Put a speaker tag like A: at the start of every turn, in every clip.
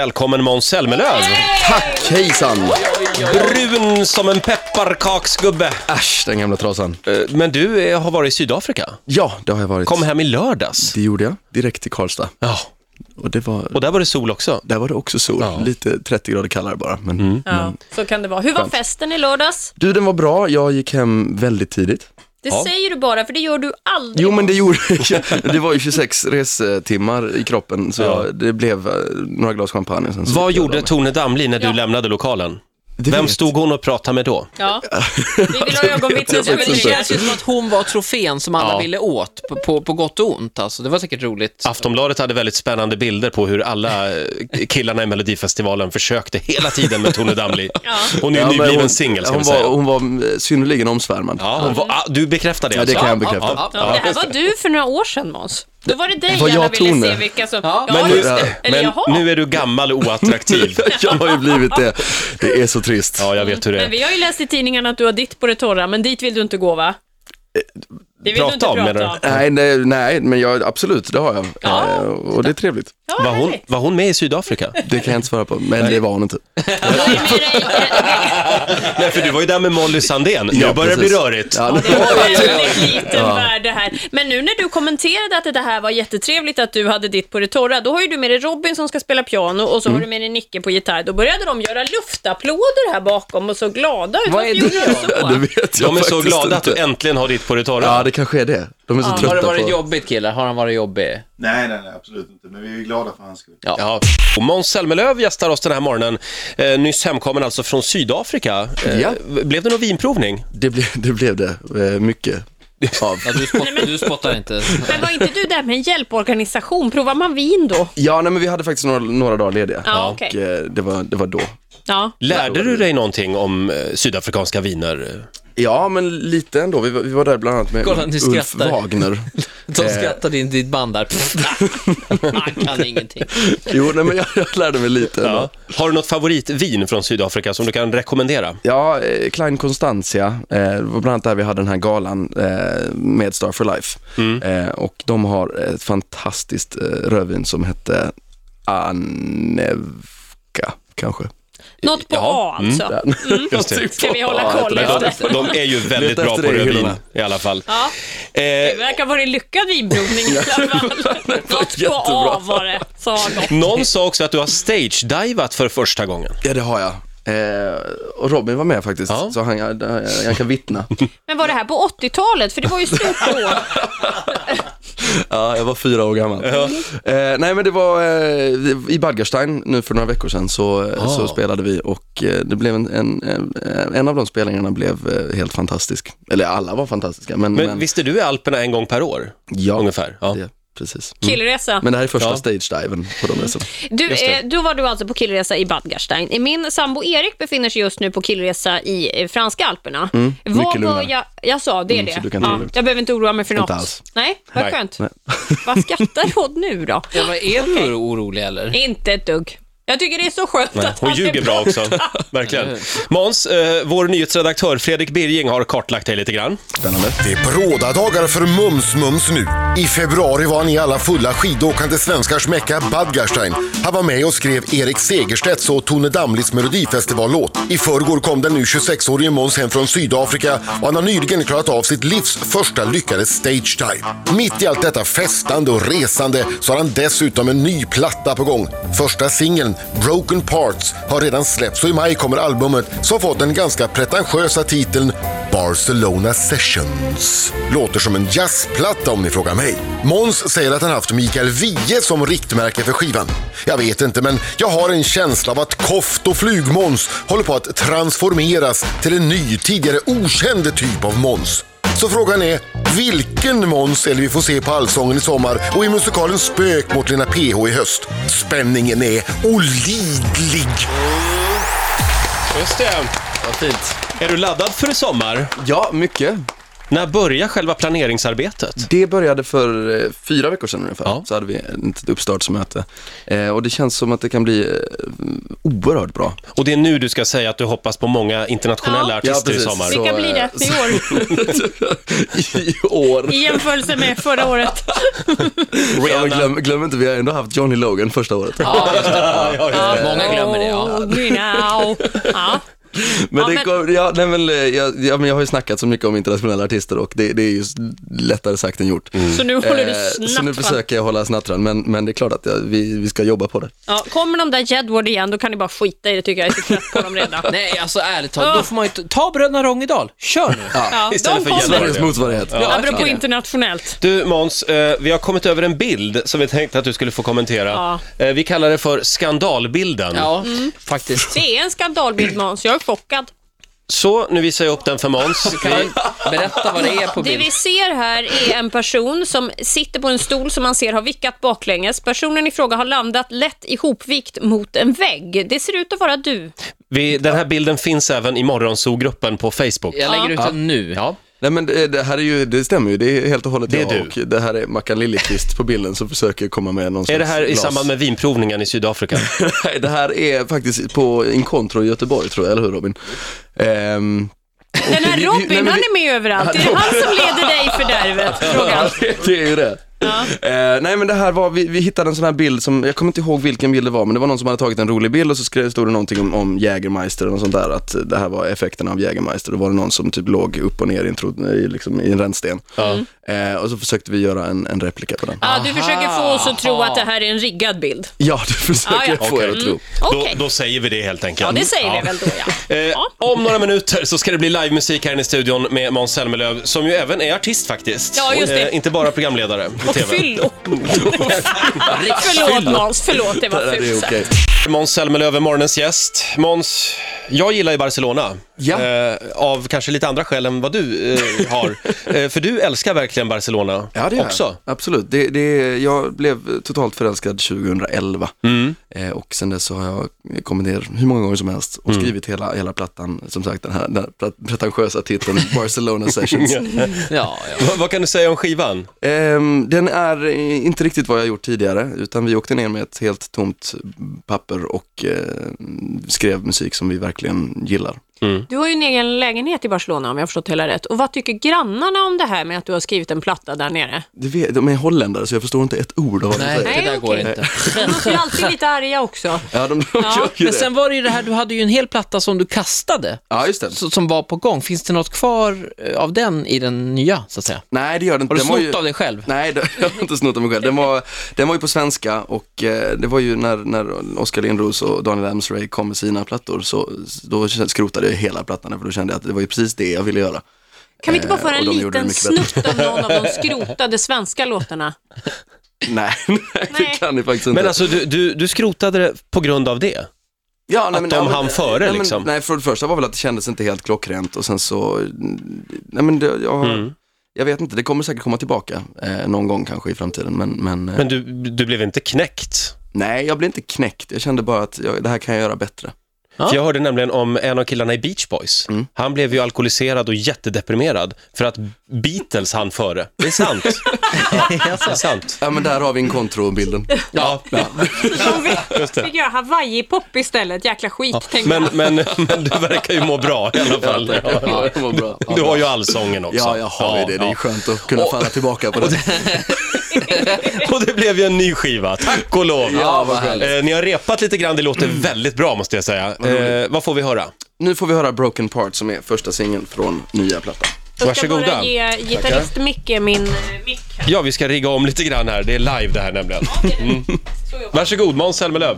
A: Välkommen Måns Zelmerlöw!
B: Tack, hejsan!
A: Brun som en pepparkaksgubbe.
B: Äsch, den gamla trasan.
A: Eh, Men du eh, har varit i Sydafrika.
B: Ja, det har jag varit.
A: Kom hem i lördags.
B: Det gjorde jag, direkt till Karlstad.
A: Ja,
B: Och det var,
A: och där var det sol också.
B: där var det också sol, lite 30 grader kallare bara. Men,
A: Mm.
C: Ja, så kan det vara. Hur var festen i lördags?
B: Du, den var bra, jag gick hem väldigt tidigt.
C: Det säger du bara, för det gör du aldrig.
B: Jo, men det gjorde jag. Det var ju 26 restimmar i kroppen, så jag, det blev eh, några glas champagne. och Sen så
A: Vad
B: gick jag och
A: gjorde
B: la mig.
A: Tone Damli när du
C: Ja.
A: lämnade lokalen?
B: Det
A: Vem
B: vet-
A: stod hon och pratade med då?
C: Ja. Vi vill ha ögonvittnen
B: jag
C: som
D: Ja, men det
B: faktiskt
C: är
D: känns ju som att hon var trofén som alla ville åt, på, på, på gott och ont. Alltså, det var säkert roligt.
A: Aftonbladet hade väldigt spännande bilder på hur alla eh, killarna i Melodifestivalen försökte hela tiden med Tone Damli. Hon är ju
B: Ja, men
A: nybliven
B: hon-
A: singel, ska
B: hon
A: vi säga.
B: var- Hon var eh, synnerligen omsvärmad.
A: Ja, hon var, ah, du bekräftar det
B: Ja, det
A: alltså?
B: kan jag bekräfta.
C: Det här var du för några år sedan Måns. Då var det dig
B: Var
C: alla
B: jag
C: ville
B: Tone?
C: se vilka som...
D: Ja.
C: men
A: Men
C: nu,
A: nu,
C: just det. Eller
A: men
C: jaha.
A: nu är du gammal och oattraktiv.
B: Jag har ju blivit det. Det är så trist.
A: Ja, jag vet hur det
C: Men
A: är.
C: vi har ju läst i tidningarna att du har ditt på det torra, men dit vill du inte gå va? Det vill
A: Eh, prata
C: du inte
A: om, menar
C: prata
A: du?
C: om.
B: Nej, nej, nej, men jag, absolut, det har jag.
C: Ja.
B: Eh, Och det är trevligt.
C: Ja,
A: Var hon,
C: härligt.
A: var hon med i Sydafrika?
B: Det kan jag inte svara på, men det typ. var hon inte.
C: Nej, men det är-
A: Nej, för du var ju där med Molly Sandén. Nu
B: Ja,
A: börjar det bli
B: precis.
A: rörigt.
B: Ja, det-
C: Det var väldigt liten värld det här. Men nu när du kommenterade att det här var jättetrevligt att du hade ditt på det torra, då har ju du med dig Robin som ska spela piano och så har du med dig Nicke på gitarr. Då började de göra luftapplåder här bakom och så glada ut.
D: Vad är
C: Varför gjorde
D: det?
C: de så?
B: det vet jag
A: De är så
B: faktiskt
A: glada att du
B: inte.
A: äntligen har ditt på det torra.
B: Ja, det kanske är det. De är så
D: Har det
B: trötta
D: varit
B: på...
D: jobbigt killar? Har han varit jobbig?
E: Nej, nej, nej, absolut inte. Men vi är glada för hans skull.
A: Ja. Och Måns Zelmerlöw gästar oss den här morgonen. Eh, nyss hemkommen alltså från Sydafrika. Eh,
B: Ja.
A: Blev det någon vinprovning?
B: Det, blev, det blev det, eh, mycket av.
D: Ja, du, spott, du spottar inte.
C: Men var inte du där med en hjälporganisation? Provar man vin då?
B: Ja, nej, men vi hade faktiskt några, några dagar lediga.
C: Ja,
B: och
C: okej.
B: eh, det, var, det var då.
C: Ja.
A: Lärde du dig någonting om eh, sydafrikanska viner?
B: Ja, men lite ändå. Vi var, vi var där bland annat med
D: Kolla, ni
B: Ulf
D: skrattar.
B: Wagner.
D: De skrattade in ditt band där. Han kan ingenting.
B: Jo, nej, men jag, jag lärde mig lite ändå.
A: Ja. Har du något favoritvin från Sydafrika som du kan rekommendera?
B: Ja, eh, Klein Constantia, eh, det var bland annat där vi hade den här galan eh, med Star for Life. Eh, och de har ett fantastiskt eh, rödvin som hette Anevka, kanske.
C: Något på
A: Ja,
C: A alltså.
A: Just det.
C: Ska vi hålla koll
A: Men
C: efter?
A: de, de är ju väldigt
B: Leta
A: bra på
B: efter det i
A: rödvin
B: hyllorna.
A: i alla fall.
C: Ja,
A: Eh,
C: det verkar vara en lyckad vinprovning i alla fall. Något på A var det, sa de.
A: någon sa också att du har stage-divat för första gången.
B: Ja, det har jag. Eh, och Robin var med faktiskt,
A: Ja.
B: så han, eh, han kan vittna.
C: Men var det här på 80-talet? För det var ju stort då.
B: ja, jag var fyra år gammal. Eh, nej, men det var eh, vi- i Badgerstein nu för några veckor sedan så, eh,
A: Ah.
B: så spelade vi och eh, det blev en, en, eh, en av de spelningarna blev eh, helt fantastisk. Eller alla var fantastiska, men,
A: Men,
B: men
A: visst är du i Alperna en gång per år?
B: ja.
A: Ungefär. Ja.
B: Det, precis.
C: Killresa.
B: Men det här är första
A: Ja.
B: stage-diven på de resorna.
C: Du, eh, då var du alltså på killresa i Badgerstein. Min sambo Erik befinner sig just nu på killresa i eh, franska alperna. Vad
B: Mm, mycket
C: bör
B: lugnare. Mm,
C: jag... Jag sa det, är det.
B: så du kan ta det
C: Ja,
B: lugnt.
C: jag behöver inte oroa mig för något.
B: alls.
C: Nej, vad
A: Nej.
C: skönt.
B: Nej.
C: Vad skrattar du åt nu då?
D: Ja, vad är du orolig eller?
C: Inte ett dugg. Jag tycker det är så skönt att
A: Hon
C: han är
A: ljuger bra också, verkligen. Måns, eh, vår nyhetsredaktör Fredrik Birging har kartlagt dig lite grann.
B: Spännande.
F: Det är bråda dagar för Mums-Mums nu. I februari var ni alla fulla skidåkande svenskars Mecka Badgerstein. Han var med och skrev Erik Segerstedts och Tone Damlis melodifestivallåt. I förrgår kom den nu 26-årige Måns hem från Sydafrika och han har nyligen klarat av sitt livs första lyckade stage dive. Mitt i allt detta festande och resande så har han dessutom en ny platta på gång. Första singeln, Broken Parts, har redan släppts och i maj kommer albumet som fått den ganska pretentiösa titeln Barcelona Sessions. Låter som en jazzplatta om ni frågar mig. Måns säger att han haft Mikael Wiehe som riktmärke för skivan. Jag vet inte, men jag har en känsla av att Koft och Flygmåns håller på att transformeras till en ny, tidigare okänd typ av Måns. Så frågan är, vilken Måns eller vi får se på Allsången i sommar och i musikalen Spök mot Lena PH i höst. Spänningen är olidlig.
A: Just det.
B: Vad fint.
A: Är du laddad för i sommar?
B: Ja, mycket.
A: När börjar själva planeringsarbetet?
B: Det började för eh, fyra veckor sedan ungefär,
A: Ja.
B: så hade vi ett uppstartsmöte. Eh, och det känns som att det kan bli eh, oerhört bra.
A: Och det är nu du ska säga att du hoppas på många internationella
C: Ja.
B: Ja,
A: artister i
B: precis.
A: sommar.
B: Så,
C: Vilka blir det
B: eh,
C: i
B: I
C: år
B: år.
C: i jämförelse med förra året?
B: Ja, men glöm, glöm inte, vi har ändå haft Johnny Logan första året.
D: Ja, just det. Ja, många glömmer det. Ja.
C: Oh, you know. ja.
B: Men,
C: Ja,
B: det
C: men-
B: Går, ja, nej, men, eh, jag, ja, men jag har ju snackat så mycket om internationella artister och det, det är ju s- lättare sagt än gjort.
A: Mm.
C: Så nu håller du
B: Eh, Så nu
C: snabbt fram.
B: försöker jag hålla snattran, men, men det är klart att jag, vi, vi ska jobba på det.
C: Ja, kommer de där Jedward igen, då kan ni bara skita i det tycker jag. Jag är så trött på dem redan.
D: Nej, alltså ärligt talat, då får man ju ta, ta bröderna Rongedal. Kör nu.
C: Ja,
A: istället
C: de
A: för
C: kommer.
A: Jedward.
B: Sveriges motsvarighet.
D: Ja,
C: Apropå
D: verkligen.
C: internationellt.
A: Du Måns, eh, vi har kommit över en bild som vi tänkte att du skulle få kommentera.
C: Ja.
A: Eh, vi kallar det för skandalbilden.
D: Ja, faktiskt.
C: Det är en skandalbild Måns, jag är chockad.
A: Så, nu visar jag upp den för Måns.
D: Kan du berätta vad det är på
C: Det
D: bild?
C: vi ser här är en person som sitter på en stol som man ser har vickat baklänges. Personen i fråga har landat lätt ihopvikt mot en vägg. Det ser ut att vara du.
A: Vi, den här bilden finns även i morgonzoo-gruppen på Facebook.
D: Jag lägger ut den nu.
A: Ja.
B: Nej men eh, det, det här är ju, det stämmer ju, det är helt och hållet
A: Det är
B: jag
A: du.
B: och det här är Mackan Liljeqvist på bilden som försöker komma med någon
A: Är
B: slags
A: det här i
B: glas.
A: samband med vinprovningen i Sydafrika?
B: Nej, det här är faktiskt på Incontro i Göteborg tror jag, eller hur Robin? Ehm,
C: Den här
B: vi- vi-
C: Robin,
B: nej, men
C: han
B: vi-
C: är med överallt. Är det han som leder dig i fördärvet? Frågan.
B: det är ju det. Eh, nej men det här var, vi, vi hittade en sån här bild som, jag kommer inte ihåg vilken bild det var, men det var någon som hade tagit en rolig bild och så skrev, stod det någonting om, om Jägermeister och något sånt där, att det här var effekten av Jägermeister. Då var det någon som typ låg upp och ner i en, tro, i, liksom, i en rännsten. Eh, och så försökte vi göra en, en replika på den.
C: Ja, du försöker få oss att tro att det här är en riggad bild.
B: Ja, Mm. det försöker
C: Ah, ja.
B: jag få er att tro.
A: Då,
C: Okej,
A: då säger vi det helt enkelt.
C: ja, det säger vi väl då ja.
A: Eh,
C: Ja.
A: om några minuter så ska det bli livemusik här inne i studion med Måns Zelmerlöw, som ju även är artist faktiskt.
C: Ja, just det.
A: Eh, inte bara programledare i
C: Och
A: TV.
C: fyllo. förlåt Måns, förlåt det
B: Det
C: var
B: är
C: fult
B: okej.
C: sagt.
A: Måns Zelmerlöw är morgonens gäst. Måns, jag gillar ju Barcelona.
B: Ja.
A: Eh, av kanske lite andra skäl än vad du eh, har. eh, för du älskar verkligen Barcelona
B: Ja, det gör
A: också.
B: Jag. Absolut. Det, det, jag blev totalt förälskad 2011
D: Mm.
B: eh, och sen dess så har jag kommit ner hur många gånger som helst och
D: Mm.
B: skrivit hela, hela plattan, som sagt den här, den här pretentiösa titeln Barcelona Sessions.
D: Ja, ja.
A: Va- vad kan du säga om skivan?
B: Ehm, den är eh, inte riktigt vad jag gjort tidigare, utan vi åkte ner med ett helt tomt papper och eh, skrev musik som vi verkligen gillar.
C: Du har ju en egen lägenhet i Barcelona om jag har förstått hela rätt. Och vad tycker grannarna om det här med att du har skrivit en platta där nere?
B: Det vet, de är holländare så jag förstår inte ett ord av vad de
D: Nej,
B: säger.
D: det där
C: Nej,
D: går
C: okej.
D: inte.
C: De är ju alltid lite arga också.
B: Ja, de, de gör ju
D: Men
B: det.
D: sen var det ju det här, du hade ju en hel platta som du kastade,
B: Ja, just det.
D: så- som var på gång. Finns det något kvar eh, av den i den nya, så att säga?
B: Nej, det gör det inte.
D: Har du
B: Den var
D: snott av dig själv?
B: Nej, det, jag har inte snott den mig själv. Den var, den var ju på svenska och eh, det var ju när, när Oskar Lindros och Daniel Amsray kom med sina plattor så då skrotade jag hela plattan för då kände jag att det var ju precis det jag ville göra.
C: Kan vi inte bara
B: Eh,
C: föra en
B: och de gjorde det
C: liten
B: mycket bättre.
C: snutt av någon av de skrotade svenska låtarna?
B: Nej, nej det
C: Nej.
B: kan ni faktiskt inte.
A: Men alltså, du, du, du skrotade det på grund av det.
B: ja, nej,
A: att de hann före,
B: nej, men,
A: liksom.
B: Nej, för det första var väl att det kändes inte helt klockrent och sen så, nej men det, jag,
A: Mm.
B: jag vet inte, det kommer säkert komma tillbaka eh, någon gång kanske i framtiden men, men, eh,
A: Men du, du blev inte knäckt.
B: nej jag blev inte knäckt, jag kände bara att jag, det här kan jag göra bättre.
A: För jag hörde nämligen om en av killarna i Beach Boys.
B: Mm.
A: Han blev ju alkoholiserad och jättedeprimerad för att Beatles hann före. Det är sant. ja, det är sant.
B: Ja men där har vi en kontrobilden.
A: Ja,
C: De vill-
A: Just det.
C: fick göra Hawaii-pop istället, jäkla skit tänkte
A: Men,
C: jag.
A: men, men du verkar ju må bra i alla fall. Ja.
B: det var bra.
A: Du har ju allsången också.
B: Ja, jag har ju det. Det är
A: ja.
B: skönt att kunna falla tillbaka på det.
A: Och det blev ju en ny skiva, tack och lov.
B: Ja, vad härligt. Mm.
A: eh, ni har repat lite grann, det låter väldigt bra måste jag säga. Eh, vad får vi höra?
B: Nu får vi höra Broken Part som är första singeln från nya plattan.
C: Jag ska
A: Varsågoda.
C: bara ge gitarrist Micke min eh, mick här.
A: Ja, vi ska rigga om lite grann här. Det är live det här nämligen. Mm. Varsågod, Måns Zelmerlöw.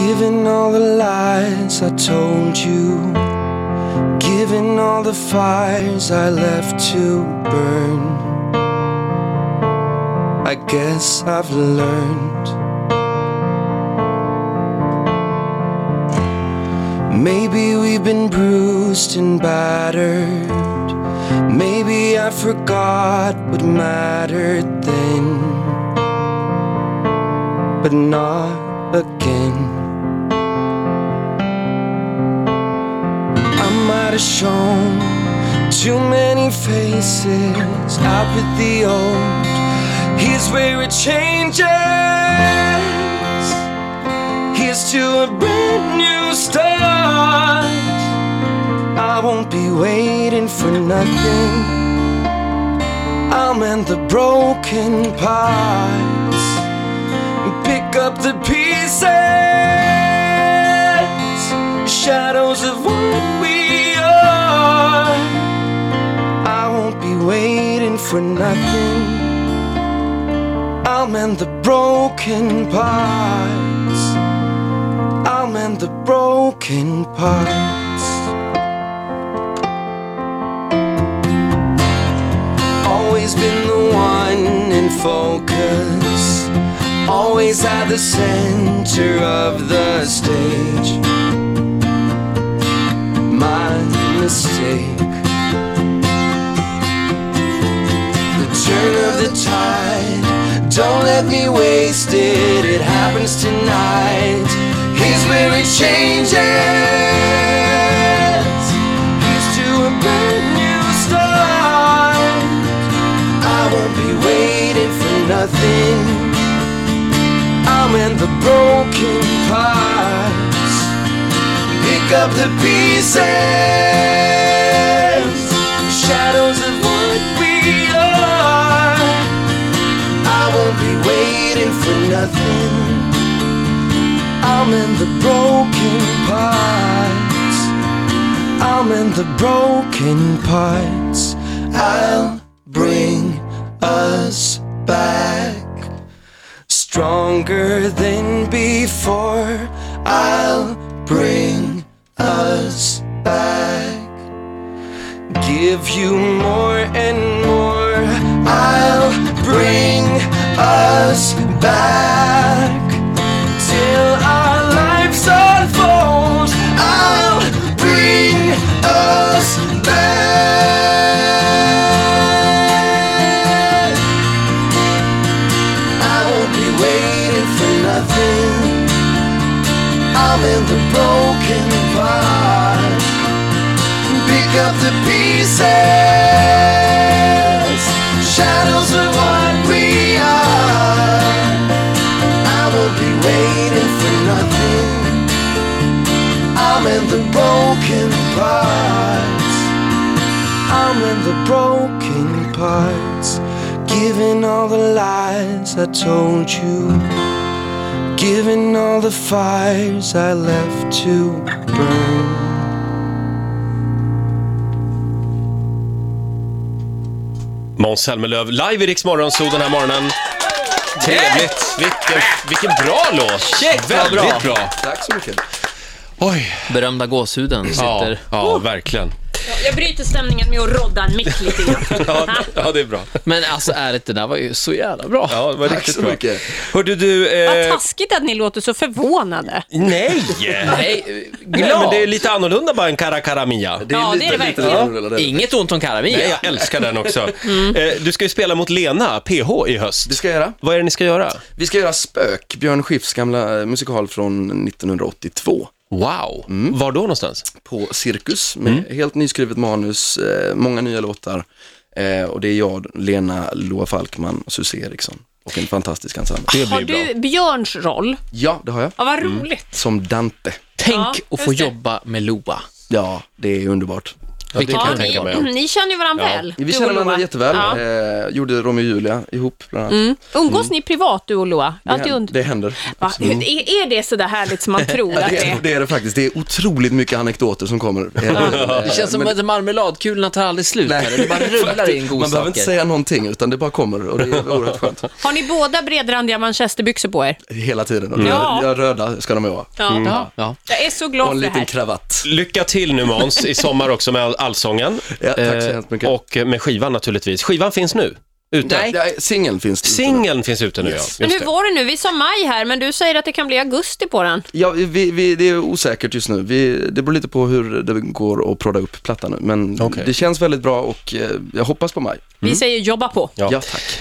G: Given all the lies I told you, given all the fires I left to burn, I guess I've learned. Maybe we've been bruised and battered. Maybe I forgot what mattered then, but not again. are shown too many faces out with the old. Here's where it changes. Here's to a brand new start. I won't be waiting for nothing. I'll mend the broken parts. Pick up the pieces. Shadows of what we are. I won't be waiting for nothing. I'll mend the broken parts. I'll mend the broken parts. Always been the one in focus. Always at the center of the stage. My mistake. The turn of the tide. Don't let me waste it. It happens tonight. Here's where it changes. Here's to a brand new start. I won't be waiting for nothing. I'm in the broken parts. Pick up the pieces, shadows of what we are. I won't be waiting for nothing. I'm in the broken parts. I'm in the broken parts. I'll bring us back stronger than before. I'll bring us back, give you more and more. I'll bring us back till our lives unfold. I'll bring us back. I won't be waiting for nothing. I'm in the broken part. Pick up the pieces, shadows of what we are. I won't be waiting for nothing. I'm in the broken parts. I'm in the broken parts. Given all the lies I told you, given all the fires I left to burn.
A: Måns Zelmerlöw live i Rix Morgonzoo den här morgonen. Trevligt. Vilken, vilken bra låt.
D: Shit, vad bra.
A: Väldigt bra.
B: Tack så mycket.
A: Oj.
D: Berömda gåshuden
A: Ja,
D: sitter.
A: ja verkligen.
C: Jag bryter stämningen med att rodda en mick lite grann.
A: Ja, ja, det är bra.
D: Men alltså ärligt, det där var ju så jävla bra.
A: Ja, det var
B: Tack
A: riktigt
B: så
A: bra.
B: mycket.
A: Hörde du...
C: Vad
A: Eh,
C: taskigt att ni låter så förvånade.
A: nej!
D: Nej,
A: Nej, men
D: glad.
A: det är lite annorlunda bara än Cara Mia.
B: Det är
C: Ja, det är
B: lite,
C: det
B: lite
C: verkligen.
B: annorlunda där.
D: Inget ont om
A: Nej,
D: Karamia.
A: jag älskar den också. Eh, du ska ju spela mot Lena, PH, i höst.
B: Det ska jag göra.
A: Vad är det ni ska göra?
B: Vi ska göra Spök, Björn Skifs gamla eh, musikal från 1982.
A: Wow! Var då någonstans?
B: på Cirkus med helt nyskrivet manus, eh, många nya låtar eh, och det är jag, Lena Loa Falkman och Susie Eriksson och en fantastisk ensemble.
A: Det
C: Har
A: blir bra. Mm.
C: du Björns roll?
B: Ja, det har jag.
C: Ja, vad roligt.
B: Som Dante.
D: Tänk
C: Ja,
D: att få
C: just det.
D: jobba med Loa.
B: Ja, det är underbart.
A: det kan
C: Ja,
A: jag tänka mig.
C: ni, ni känner ju varandra väl. du
B: Vi
C: och
B: känner varandra
C: Loa.
B: jätteväl,
C: Ja.
B: eh, gjorde Romeo och Julia ihop bland annat.
C: Mm. Umgås ni privat, du och Loa? Jag har
B: Det,
C: alltid
B: hän-
C: und-
B: det händer.
C: Va? Är, är det så där härligt som man tror att
B: Det
C: det
B: är,
C: är?
B: det är det faktiskt. Det är otroligt mycket anekdoter som kommer.
D: Det känns som att marmeladkulorna tar aldrig slut. Här. Det bara rullar in
B: Man behöver inte
D: godsaker.
B: säga någonting utan det bara kommer och det är oerhört skönt.
C: Har ni båda bredrandiga manchesterbyxor på er?
B: Hela tiden. Och
C: Ja.
B: röda, röda ska de vara.
C: Ja.
D: Ja, ja.
C: Jag är så glad
B: Mm. Och
C: för
B: en liten
C: det här.
B: kravatt.
A: Lycka till nu Måns, i sommar också med all- Allsången.
B: Ja, tack så hemskt mycket. Mm.
A: Eh, Och med skivan naturligtvis. Skivan finns nu, ute.
D: Nej.
B: Ja, Singeln finns det.
A: Singeln finns ute nu, ja.
C: Men
A: Just
C: hur
A: det.
C: var det nu? Vi sa maj här, men du säger att det kan bli augusti på den.
B: Ja, vi, vi, det är osäkert just nu. Vi, det beror lite på hur det går att prodda upp plattan nu. Men
A: Okej.
B: det känns väldigt bra och eh, jag hoppas på maj.
C: Vi säger jobba på.
A: Ja.
B: Ja, tack.